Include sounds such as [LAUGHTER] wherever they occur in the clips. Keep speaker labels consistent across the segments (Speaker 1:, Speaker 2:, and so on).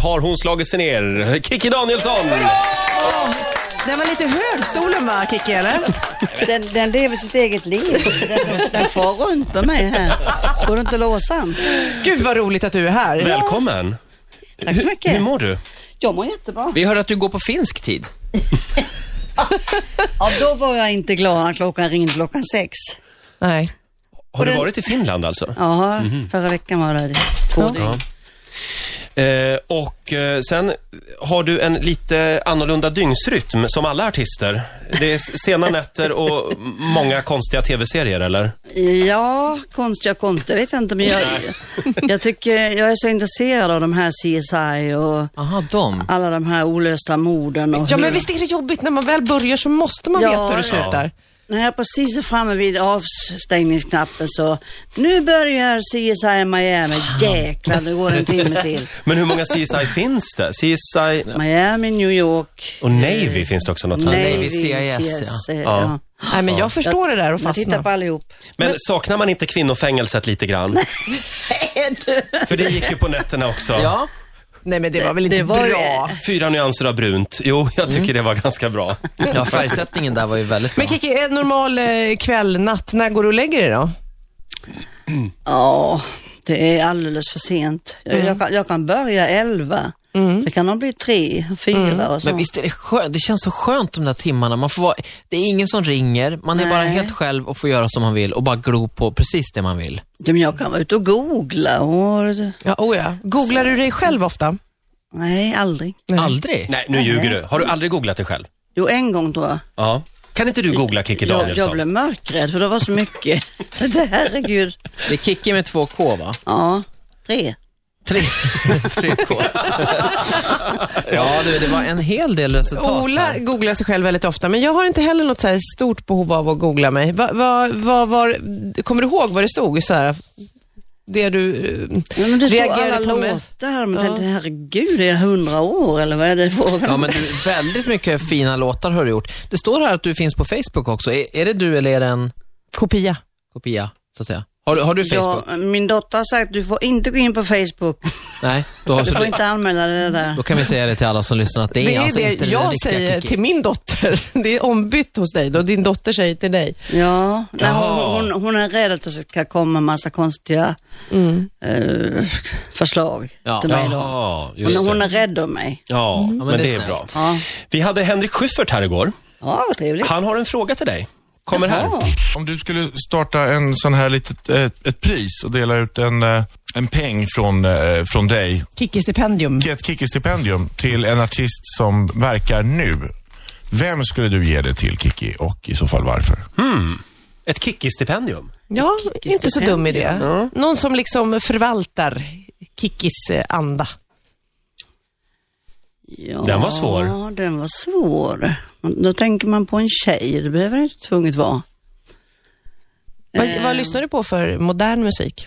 Speaker 1: har hon slagit sig ner. Kikki Danielsson!
Speaker 2: Den var lite hög stolen va, Kikki eller?
Speaker 3: Den, den lever sitt eget liv. Den, den far runt med mig här. Går det inte att låsa den?
Speaker 2: Gud vad roligt att du är här.
Speaker 1: Välkommen!
Speaker 3: Tack så mycket.
Speaker 1: Hur mår du?
Speaker 3: Jag mår jättebra.
Speaker 4: Vi hörde att du går på finsk tid.
Speaker 3: [LAUGHS] Ja, då var jag inte glad när klockan ringde klockan sex.
Speaker 2: Nej.
Speaker 1: Har du varit i Finland alltså?
Speaker 3: Ja,
Speaker 4: Mhm.
Speaker 3: förra veckan var det två
Speaker 2: Ja.
Speaker 3: dygn.
Speaker 1: Eh, och eh, sen har du en lite annorlunda dygnsrytm som alla artister. Det är s- sena nätter och m- många konstiga tv-serier, eller?
Speaker 3: Ja, konst, ja, konst, jag vet inte,
Speaker 4: [LAUGHS]
Speaker 3: men jag, jag tycker, jag är så intresserad av de här CSI och
Speaker 4: Aha, de.
Speaker 3: alla de här olösta morden. Och
Speaker 2: Ja men
Speaker 3: hur-
Speaker 2: visst är det jobbigt när man väl börjar så måste man
Speaker 3: Ja,
Speaker 2: veta hur det
Speaker 3: ja.
Speaker 2: slutar.
Speaker 3: När jag precis är framme vid avstängningsknappen så, nu börjar CSI Miami. Jäklar, nu går det en timme till.
Speaker 1: Men hur många CSI finns det? CSI
Speaker 3: Miami, New York,
Speaker 1: och Navy finns det också något sånt.
Speaker 4: Navy,
Speaker 3: Navy,
Speaker 4: CIS, ja.
Speaker 3: CS,
Speaker 1: Ja.
Speaker 3: ja.
Speaker 2: Nej men jag förstår det där och
Speaker 3: Man tittar
Speaker 2: fastnar.
Speaker 3: på allihop.
Speaker 1: Men saknar man inte kvinnofängelset lite
Speaker 3: [LAUGHS]
Speaker 1: grann? För det gick ju på nätterna också.
Speaker 4: Ja.
Speaker 2: Nej men det var väl inte
Speaker 3: Det var ju-
Speaker 2: bra.
Speaker 1: Fyra nyanser av brunt. Jo, jag tycker
Speaker 3: Mm.
Speaker 1: det var ganska bra.
Speaker 4: ja, färgsättningen där var ju väldigt bra.
Speaker 2: Men Kiki, en normal eh, kväll, natt, när går du och lägger dig då?
Speaker 3: Ja, det är alldeles för sent. Jag,
Speaker 2: Mm.
Speaker 3: jag, kan, jag kan börja elva, så kan de bli tre, fyra
Speaker 2: Mm.
Speaker 3: och så.
Speaker 4: Men visst är det skönt? Det känns så skönt de där timmarna. Man får vara, det är ingen som ringer, man är bara
Speaker 3: Nej.
Speaker 4: helt själv och får göra som man vill och bara glo på precis det man vill.
Speaker 3: Ja, Men jag kan vara ute och googla och...
Speaker 2: Ja, oh ja. Googlar du dig själv ofta?
Speaker 3: Nej, aldrig.
Speaker 4: Aldrig?
Speaker 1: Nej, nu ljuger du. Har du aldrig googlat dig själv?
Speaker 3: Jo, en gång tror jag.
Speaker 1: Ja. Kan inte du googla Kikki
Speaker 3: Jag, jag
Speaker 1: Danielsson?
Speaker 3: blev mörkrädd för det var så mycket. [LAUGHS] det, herregud.
Speaker 4: Det är Kikki med två K va?
Speaker 3: Ja, tre.
Speaker 4: Tre, [LAUGHS] tre K. ja du, det var en hel del resultat.
Speaker 2: Ola googlar sig själv väldigt ofta, men jag har inte heller något så här stort behov av att googla mig. Va, va, va, var, kommer du ihåg vad det stod? Så här, det du eh,
Speaker 3: Ja, men det står
Speaker 2: reagerade
Speaker 3: alla
Speaker 2: på med?
Speaker 3: låtar. Man
Speaker 2: Ja.
Speaker 3: tänkte, herregud, är jag hundra år eller vad är det frågan
Speaker 4: Ja
Speaker 3: om?
Speaker 4: men du, väldigt mycket fina låtar har du gjort. Det står här att du finns på Facebook också. Är, är det du eller är det en
Speaker 2: Kopia.
Speaker 4: kopia, så att säga? Har, du- har du Facebook?
Speaker 3: [LAUGHS] Ja, min dotter har sagt, du får inte gå in på Facebook.
Speaker 4: Nej, då, har,
Speaker 3: Du
Speaker 4: så
Speaker 3: får
Speaker 4: det,
Speaker 3: inte anmäla dig där.
Speaker 4: då kan vi säga det till alla som lyssnar att det är,
Speaker 2: Det är
Speaker 4: alltså
Speaker 2: det
Speaker 4: inte den
Speaker 2: jag
Speaker 4: riktiga
Speaker 2: säger
Speaker 4: Kikki.
Speaker 2: till min dotter. [LAUGHS] Det är ombytt hos dig då. Din dotter säger till dig.
Speaker 3: Ja, nej,
Speaker 1: Jaha.
Speaker 3: hon, hon, hon är rädd att det ska komma en massa konstiga
Speaker 2: Mm.
Speaker 3: eh, förslag
Speaker 4: Ja.
Speaker 3: till mig då.
Speaker 1: Ja, just
Speaker 3: Hon, hon
Speaker 1: det.
Speaker 3: är rädd om mig.
Speaker 1: Ja, men,
Speaker 4: men det är
Speaker 1: det är
Speaker 4: snällt.
Speaker 1: bra.
Speaker 3: Ja,
Speaker 1: Vi hade Henrik Schyffert här igår.
Speaker 3: ja vad trevligt.
Speaker 1: Han har en fråga till dig. Kommer här.
Speaker 3: Ja.
Speaker 5: Om du skulle starta en sån här litet, eh, ett pris och dela ut en, eh, en peng från, eh, från dig,
Speaker 2: Kikki-stipendium.
Speaker 5: ett Kikki-stipendium till en artist som verkar nu. Vem skulle du ge det till Kikki och i så fall varför?
Speaker 1: Ett Kikki-stipendium.
Speaker 2: Ja, inte så dum idé. Någon som liksom förvaltar Kikkis eh, anda.
Speaker 3: Ja,
Speaker 1: Den var svår.
Speaker 3: Ja, den var svår. Men Då tänker man på en tjej, det behöver det inte tvunget vara.
Speaker 2: Vad,
Speaker 4: Eh.
Speaker 2: vad lyssnar du på för modern musik?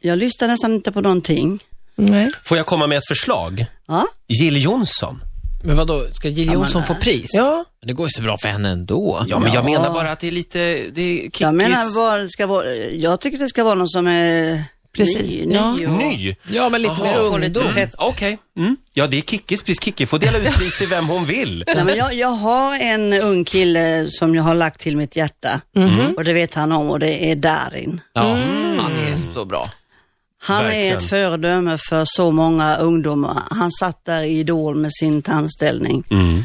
Speaker 3: Jag lyssnar nästan inte på någonting.
Speaker 2: Nej.
Speaker 1: Får jag komma med ett förslag?
Speaker 3: Ja,
Speaker 1: Jill Johnson.
Speaker 4: Men vadå, ska Jill Johnson få pris?
Speaker 2: Ja.
Speaker 4: Men det går ju så bra för henne ändå.
Speaker 1: Ja, men jag menar bara att det är lite... Det är Kikkis...
Speaker 3: jag menar bara, det ska vara, jag tycker det ska vara någon som är
Speaker 2: Precis,
Speaker 3: ny.
Speaker 2: ja.
Speaker 3: ny och,
Speaker 1: Ny?
Speaker 4: Ja, men lite mer
Speaker 3: Jag får lite
Speaker 4: ungdom.
Speaker 3: pepp.
Speaker 1: Okej. Mm. Ja, det är Kikkis pris. Kikki får dela ut pris till vem hon vill.
Speaker 3: Nej, men jag, jag har en ung kille som jag har lagt till mitt hjärta
Speaker 2: Mhm.
Speaker 3: och det vet han om och det är Darin.
Speaker 4: Ja, han är så bra.
Speaker 3: Han
Speaker 1: Verkligen.
Speaker 3: är ett föredöme för så många ungdomar. Han satt där i Idol med sin tandställning
Speaker 2: Mm.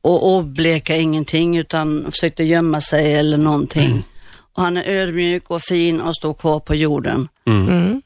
Speaker 3: och, och blekade ingenting utan försökte gömma sig eller någonting.
Speaker 2: Mm.
Speaker 3: Och han är ödmjuk och fin och står kvar på jorden.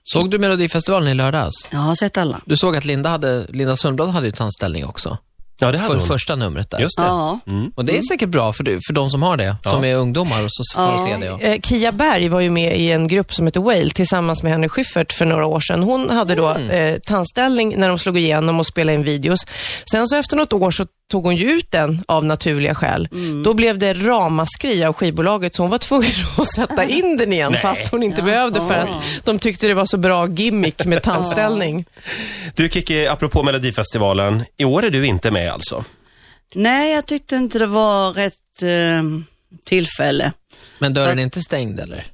Speaker 4: Såg du Melodifestivalen i lördags?
Speaker 3: Jag har sett alla.
Speaker 4: Du såg att Linda, hade, Linda Sundblad hade ju tandställning också.
Speaker 1: Ja, det hade
Speaker 4: För
Speaker 1: hon.
Speaker 4: första numret där.
Speaker 1: Just det.
Speaker 3: Ja.
Speaker 4: Och det är säkert bra för, du, för de som har det, som är ungdomar och så får
Speaker 3: Ja.
Speaker 4: se det. Ja.
Speaker 2: Eh, Kia Berg var ju med i en grupp som heter Whale tillsammans med Henrik Schyffert för några år sedan. Hon hade då eh, tandställning när de slog igenom och spelade in videos. Sen så efter något år så tog hon ju ut den av naturliga skäl. Då blev det ramaskri av skivbolaget så hon var tvungen [LAUGHS] att sätta in den igen
Speaker 1: Nej.
Speaker 2: fast hon inte behövde för att de tyckte det var så bra gimmick med tandställning.
Speaker 1: Du Kikki, apropå Melodifestivalen. I år är du inte med alltså.
Speaker 3: Nej, jag tyckte inte det var rätt eh, tillfälle.
Speaker 4: Men dörren är inte stängd eller?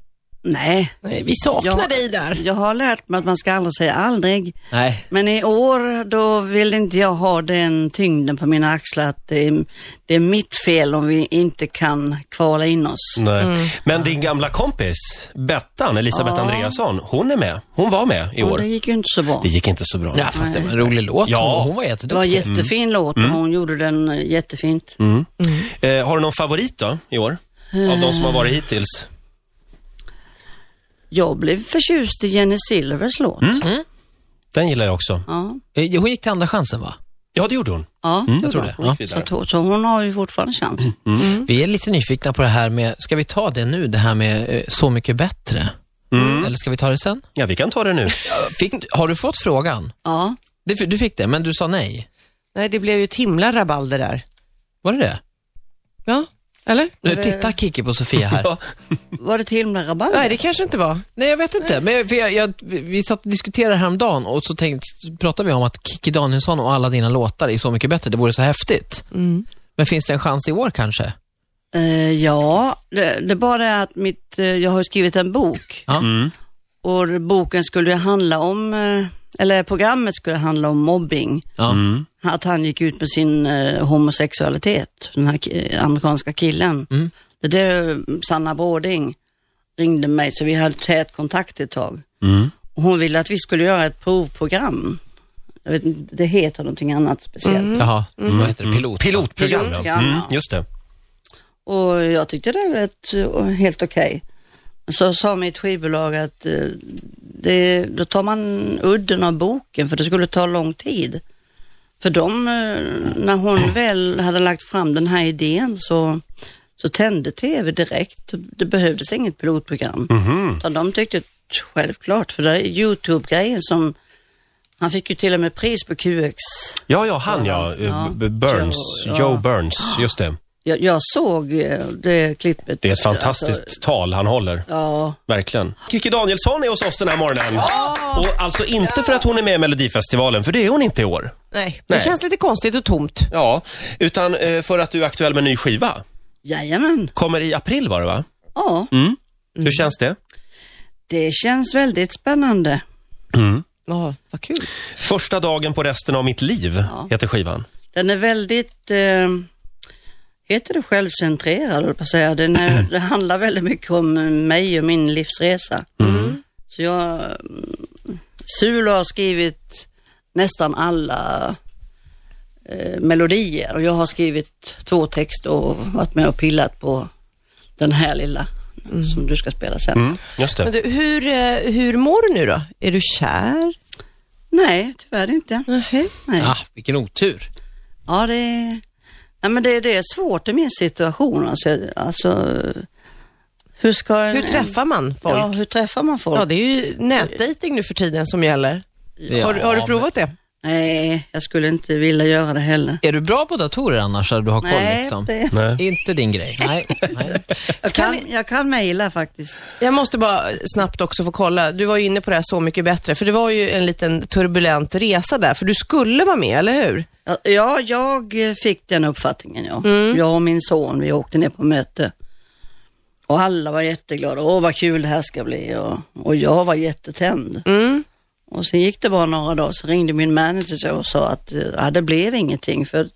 Speaker 3: Nej,
Speaker 2: Nej, vi saknar
Speaker 3: Ja.
Speaker 2: dig där.
Speaker 3: jag har lärt mig att man ska aldrig säga aldrig.
Speaker 4: Nej.
Speaker 3: Men i år då vill inte jag ha den tyngden på mina axlar att det är, det är mitt fel om vi inte kan kvala in oss.
Speaker 1: Nej. Men din gamla kompis, Bettan, Elisabeth Andreasson, hon är med. Hon var med i
Speaker 3: Och
Speaker 1: år.
Speaker 3: det gick ju inte så bra.
Speaker 1: Det gick inte så bra.
Speaker 4: Ja, fast det var en rolig låt.
Speaker 1: Ja.
Speaker 4: Hon, hon var
Speaker 3: Det var en
Speaker 4: jätteduktig.
Speaker 3: jättefin låt
Speaker 1: Mm.
Speaker 3: och hon gjorde den eh, jättefint.
Speaker 1: Eh, har du någon favorit då, i år? Av de som har varit hittills?
Speaker 3: Jag blev förtjust i Jenny Silvers låt.
Speaker 1: Mm. Den gillar jag också.
Speaker 3: Ja,
Speaker 4: Eh, Hon gick till andra chansen, va?
Speaker 1: Ja, det gjorde hon.
Speaker 3: ja.
Speaker 1: Mm.
Speaker 4: Jag tror det. Ja.
Speaker 3: Så, to- så hon har ju fortfarande chans.
Speaker 4: Vi är lite nyfikna på det här med, ska vi ta det nu, det här med eh, Så mycket bättre?
Speaker 2: Mm.
Speaker 4: Eller ska vi ta det sen?
Speaker 1: Ja, vi kan ta det nu.
Speaker 4: Fick, har du fått frågan?
Speaker 3: Ja,
Speaker 4: Det, du fick det, men du sa nej.
Speaker 2: Nej, det blev ju ett himla rabalder där.
Speaker 4: Var det det?
Speaker 2: Ja, eller?
Speaker 4: Nu, titta Kiki på
Speaker 2: [LAUGHS]
Speaker 4: Sofia här.
Speaker 1: Ja.
Speaker 3: var det ett himla rabalder?
Speaker 2: Nej, det kanske inte var.
Speaker 4: Nej, jag vet inte. Men för jag, jag, vi- vi satt och diskuterade häromdagen och så tänkte, pratade vi om att Kiki Danielsson och alla dina låtar är Så mycket bättre. Det vore så häftigt.
Speaker 2: Mm.
Speaker 4: Men finns det en chans i år kanske?
Speaker 3: Eh, ja, det, det är bara det att mitt, eh, jag har skrivit en bok
Speaker 4: Ja.
Speaker 2: Mm.
Speaker 3: och boken skulle ju handla om, eh, eller programmet skulle handla om mobbing.
Speaker 4: Ja.
Speaker 2: Mm.
Speaker 3: Att han gick ut med sin eh, homosexualitet, den här ki- amerikanska killen. Det där eh, Sanna Bråding ringde mig så vi hade tät kontakt ett tag. Och hon ville att vi skulle göra ett provprogram. Jag vet, inte, det heter någonting annat speciellt.
Speaker 4: Mm. Jaha,
Speaker 2: Mm.
Speaker 4: vad heter det? Pilot?
Speaker 1: Pilotprogram, ja.
Speaker 3: Pilotprogram,
Speaker 1: Mm,
Speaker 3: ja.
Speaker 1: just det.
Speaker 3: Och jag tyckte det lät eh, helt okej. Så sa mitt skivbolag att eh, det, då tar man udden av boken för det skulle ta lång tid. För de, eh,
Speaker 1: [CLEARS THROAT]
Speaker 3: när hon väl hade lagt fram den här idén så, så tände tv direkt. Det behövdes inget pilotprogram.
Speaker 1: Mhm.
Speaker 3: Utan de tyckte självklart, för det är YouTube-grejen som, han fick ju till och med pris på QX.
Speaker 1: Ja, ja, han ja.
Speaker 3: Ja.
Speaker 1: B- Burns.
Speaker 3: Joe, ja.
Speaker 1: Joe Burns, just det.
Speaker 3: Jag, jag såg eh, det klippet.
Speaker 1: Det är ett fantastiskt
Speaker 3: Alltså,
Speaker 1: tal han håller.
Speaker 3: ja.
Speaker 1: Verkligen. Kikki Danielsson är hos oss den här morgonen. Och alltså inte för att hon är med i Melodifestivalen, för det är hon inte i år.
Speaker 2: Nej,
Speaker 1: Nej.
Speaker 2: det känns lite konstigt och tomt.
Speaker 1: Ja, utan eh, för att du är aktuell med en ny skiva.
Speaker 3: Jajamän.
Speaker 1: Kommer i april var det va?
Speaker 3: Ja,
Speaker 1: Hur känns det?
Speaker 3: det känns väldigt spännande.
Speaker 2: Ja, vad kul.
Speaker 1: Första dagen på resten av mitt liv heter skivan.
Speaker 3: Den är väldigt, eh, heter det självcentrerad, höll jag på att säga. Den är, det handlar väldigt mycket om mig och min livsresa. Så jag, mm, Sulo har skrivit nästan alla eh, melodier och jag har skrivit två texter och varit med och pillat på den här lilla som du ska spela sen.
Speaker 1: Mm, just det.
Speaker 2: Men du, hur, eh, hur mår du nu då? Är du kär?
Speaker 3: Nej, tyvärr inte.
Speaker 2: Nej.
Speaker 3: Nej.
Speaker 4: Ah, vilken otur.
Speaker 3: Ja, det är, ja, men det, det är svårt i min situation. Alltså, alltså, hur ska en,
Speaker 2: Hur träffar man folk?
Speaker 3: Ja,
Speaker 2: Ja,
Speaker 3: hur träffar man folk?
Speaker 2: det är ju nätdating nu för tiden som gäller.
Speaker 4: Ja,
Speaker 2: har, har du
Speaker 4: men-
Speaker 2: provat det?
Speaker 3: Nej, jag skulle inte vilja göra det heller.
Speaker 4: Är du bra på datorer annars, så du har koll
Speaker 3: Nej,
Speaker 4: liksom?
Speaker 3: det,
Speaker 1: Nej.
Speaker 4: Inte din grej. Nej. Nej.
Speaker 3: jag, kan, jag kan mejla faktiskt.
Speaker 2: Jag måste bara snabbt också få kolla. Du var ju inne på det här Så mycket bättre, för det var ju en liten turbulent resa där, för du skulle vara med, eller hur?
Speaker 3: Ja, Ja, jag fick den uppfattningen. Ja. Jag och min son, vi åkte ner på möte. Och alla var jätteglada. Åh, vad kul det här ska bli. Och, och jag var jättetänd. Och sen gick det bara några dagar, så ringde min manager och sa att eh, ja, det blev ingenting. För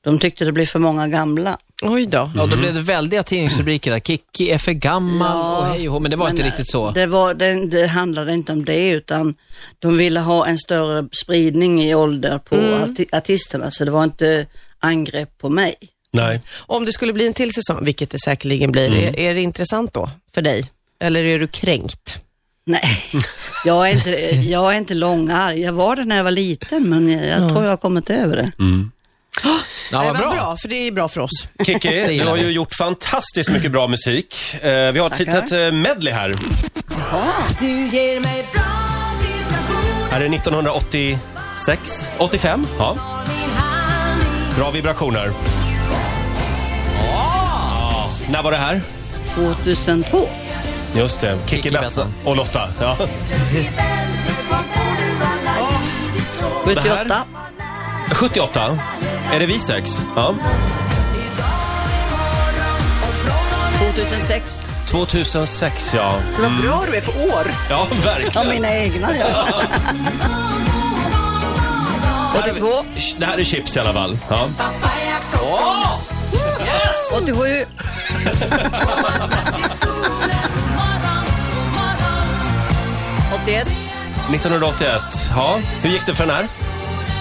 Speaker 3: de tyckte det blev för många gamla.
Speaker 2: Oj då.
Speaker 4: Ja, då blev det väldiga tidningsrubriker där. Kiki är för gammal
Speaker 3: Ja,
Speaker 4: och hej och hå, men det var inte
Speaker 3: Men, eh,
Speaker 4: riktigt så.
Speaker 3: Det, var, det, det handlade inte om det, utan de ville ha en större spridning i ålder på arti- artisterna. Så det var inte angrepp på mig.
Speaker 1: Nej.
Speaker 2: Om det skulle bli en till säsong, vilket det säkerligen blir,
Speaker 4: Mm.
Speaker 2: är, är det intressant då för dig? Eller är du kränkt?
Speaker 3: Nej, [LAUGHS] jag är inte, jag är inte långarg. Jag var det när jag var liten, men jag, jag tror jag har kommit över det.
Speaker 1: Mm.
Speaker 4: Ja, vad
Speaker 2: Nej, vad
Speaker 4: [LAUGHS] bra.
Speaker 2: bra, för det är bra för oss.
Speaker 1: Kikki, du har ju gjort fantastiskt mycket bra musik. Eh, vi har ett litet eh, medley här.
Speaker 6: Du ger mig bra vibrationer
Speaker 1: Här är 1986, 85. Ja.
Speaker 6: min hand
Speaker 1: Bra vibrationer. Ja. När var det här?
Speaker 3: 2002.
Speaker 1: Just det. Kikki
Speaker 4: Kikki
Speaker 1: Bettan
Speaker 4: Bettan.
Speaker 1: och Lotta. Ja.
Speaker 6: i väldigt svag får du alla
Speaker 1: Det här- 78.
Speaker 3: 78.
Speaker 1: Är det vi sex? Ja.
Speaker 3: 2006.
Speaker 1: 2006, ja.
Speaker 7: Vad bra du är på år.
Speaker 1: Ja,
Speaker 3: Ja,
Speaker 1: verkligen.
Speaker 3: mina egna
Speaker 1: [LAUGHS]
Speaker 3: ja.
Speaker 1: 82. Det här är chips i alla fall. Ja. [LAUGHS]
Speaker 3: 87.
Speaker 6: morgon, morgon
Speaker 3: 81.
Speaker 1: 1981. Ja. Hur gick det för den här?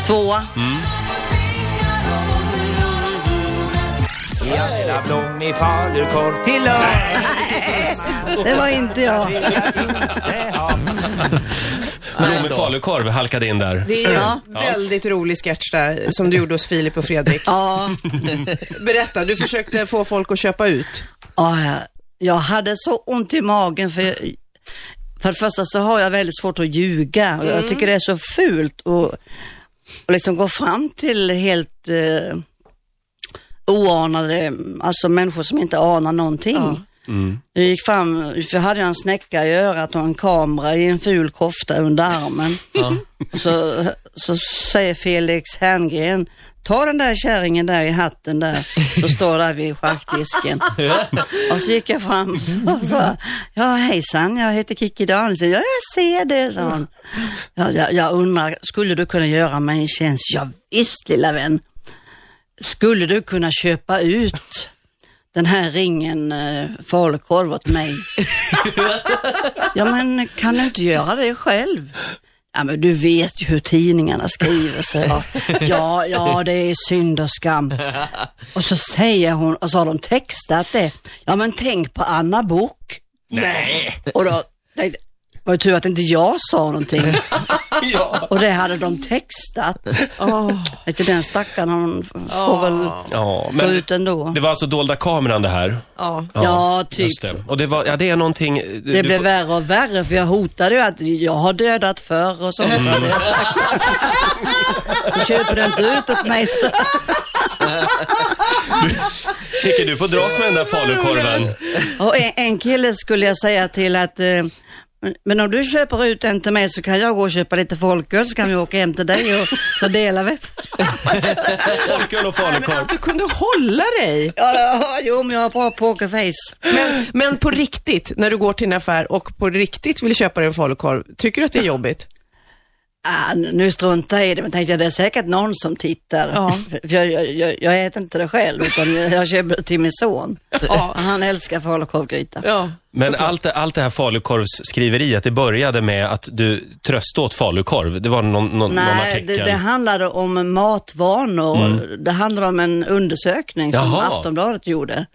Speaker 3: Tvåa.
Speaker 6: tvingar återgöra jorden
Speaker 8: Lilla blommig falukorv till lunch
Speaker 3: Det var inte jag.
Speaker 1: Mm.
Speaker 8: vill jag inte ha.
Speaker 1: Blommig falukorv halkade in där.
Speaker 2: Det är
Speaker 3: Ja.
Speaker 2: en väldigt rolig sketch där som du gjorde hos Filip och Fredrik.
Speaker 3: Ja.
Speaker 2: Berätta, du försökte få folk att köpa ut.
Speaker 3: Ja, jag- jag hade så ont i magen för jag, för det första så har jag väldigt svårt att ljuga och jag tycker det är så fult och, och liksom gå fram till helt eh, oanade, alltså människor som inte anar någonting. Jag gick fram, för jag hade en snäcka i örat och en kamera i en ful kofta under armen. Och Så, så säger Felix Herngren, ta den där kärringen där i hatten där, som står där vid schackdisken. Och så gick jag fram och så sa, ja hejsan, jag heter Kikki Danielsson. Ja, jag ser det, sa hon. Ja, jag, jag undrar, skulle du kunna göra mig en tjänst? Ja, visst lilla vän. Skulle du kunna köpa ut den här ringen eh, falukorv åt mig? ja, men kan du inte göra det själv? Ja, men du vet ju hur tidningarna skriver, så jag. Ja, ja, det är synd
Speaker 1: [LAUGHS]
Speaker 3: och skam. Och så säger hon, och så har de textat det. Ja, men tänk på Anna Bok.
Speaker 1: Nej.
Speaker 3: Och då tänkte jag, var det tur att inte jag
Speaker 1: [LAUGHS]
Speaker 3: sa någonting. Och det hade de textat. Tänkte, Den stackaren, hon får väl
Speaker 1: Ja,
Speaker 3: gå
Speaker 1: men
Speaker 3: ut ändå.
Speaker 1: det var alltså dolda kameran det här.
Speaker 2: Ja.
Speaker 3: Ja, typ.
Speaker 1: Just det. Och det, var, ja, det är någonting... Det
Speaker 3: Det blev värre och värre för jag hotade ju att jag har dödat förr och [LAUGHS] sånt. Du köper du inte ut åt mig så.
Speaker 1: Kicki, du får dras med den där falukorven.
Speaker 3: Och en, en kille skulle jag säga till att eh, men om du köper ut den till mig så kan jag gå och köpa lite folköl så kan vi åka hem till dig och så delar vi.
Speaker 1: Folköl och
Speaker 2: Men
Speaker 1: falukorv.
Speaker 2: att du kunde hålla dig.
Speaker 3: Ja, då- jo, men jag har bra pokerface.
Speaker 2: Men, men på riktigt, när du går till en affär och på riktigt vill köpa dig en falukorv, tycker du att det är jobbigt?
Speaker 3: Ah, nu struntar jag i det, men tänkte jag det är säkert någon som tittar.
Speaker 2: Ja.
Speaker 3: För jag, jag, jag, jag äter inte det själv, utan jag, jag köper det till min son.
Speaker 2: Ja.
Speaker 3: Han älskar falukorvgryta.
Speaker 2: Ja.
Speaker 1: Men allt, det- allt det här falukorvsskriveriet, det började med att du tröstade åt falukorv. Det var någon, någon, någon
Speaker 3: Nej,
Speaker 1: artikel. Mm.
Speaker 3: det, det handlade om matvanor. Det handlade om en undersökning som
Speaker 1: Jaha.
Speaker 3: Aftonbladet gjorde.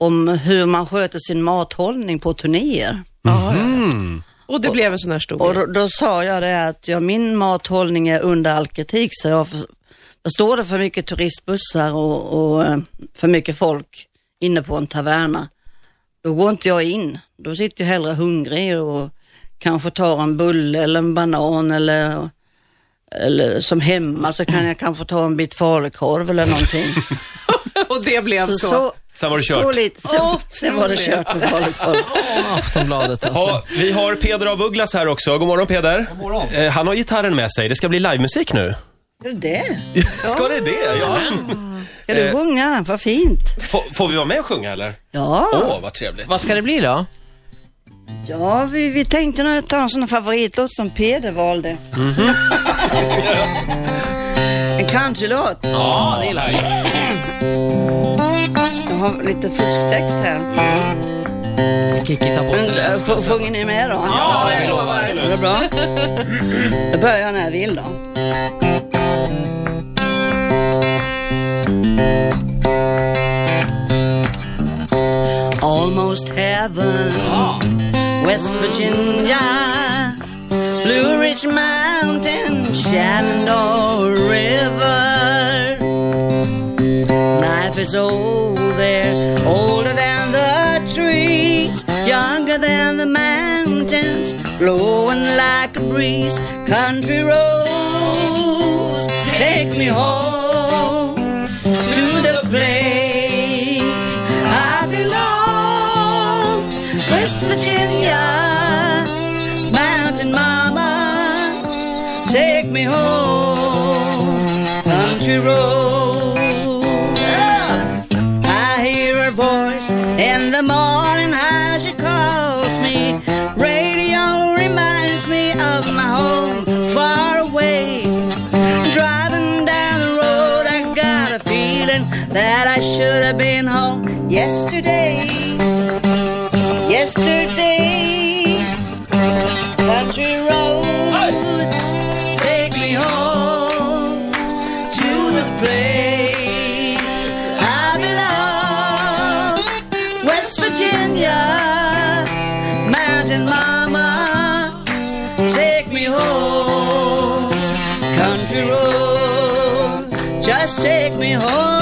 Speaker 3: Om hur man sköter sin mathållning på turnéer.
Speaker 2: Mm. Och det blev en sån här stor
Speaker 3: Och
Speaker 2: grej.
Speaker 3: då, då sa jag det att ja, min mathållning är under all kritik, så jag för, förstår det för mycket turistbussar och, och eh, för mycket folk inne på en taverna. Då går inte jag in. Då sitter jag hellre hungrig och kanske tar en bulle eller en banan eller, eller som hemma så kan jag kanske ta en bit falukorv eller någonting.
Speaker 2: Och det blev så.
Speaker 1: Sen var det kört.
Speaker 3: Så lite, sen, sen var det
Speaker 2: Otroligt.
Speaker 3: kört med falukorv.
Speaker 4: Aftonbladet alltså.
Speaker 1: Ja, vi har Peder af Ugglas här också. God morgon Peder. Eh, Han har gitarren med sig. Det ska bli livemusik nu.
Speaker 3: Hur är det?
Speaker 1: [LAUGHS] Ska det det? Ja.
Speaker 3: Ska du
Speaker 1: Eh.
Speaker 3: sjunga? Vad fint.
Speaker 1: Får, får vi vara med och sjunga eller?
Speaker 3: Ja.
Speaker 1: Åh, vad trevligt.
Speaker 4: Vad ska det bli då?
Speaker 3: Ja, vi, vi tänkte nog ta en sån här favoritlåt som Peder valde. [LAUGHS] en countrylåt.
Speaker 1: Ja, det gillar jag.
Speaker 3: Jag har lite fusktext här.
Speaker 4: Kikki tar på sig
Speaker 3: Men,
Speaker 4: det.
Speaker 3: äh, sj- sjunger ni med då? Ja, jag lovar. Det är bra. Då börjar jag när jag vill då. Almost heaven, West Virginia. Blue Ridge Mountain, Shenandoah River. Life is old there, older than the trees, younger than the mountains, blowing like a breeze. Country roads, take me home to the place I belong. West Virginia, mountain mama, take me home country road. I hear her voice in the morning, how's your yesterday. Yesterday, country roads take me home to the place I belong. West Virginia, mountain mama, take me home. Country road, just take me home.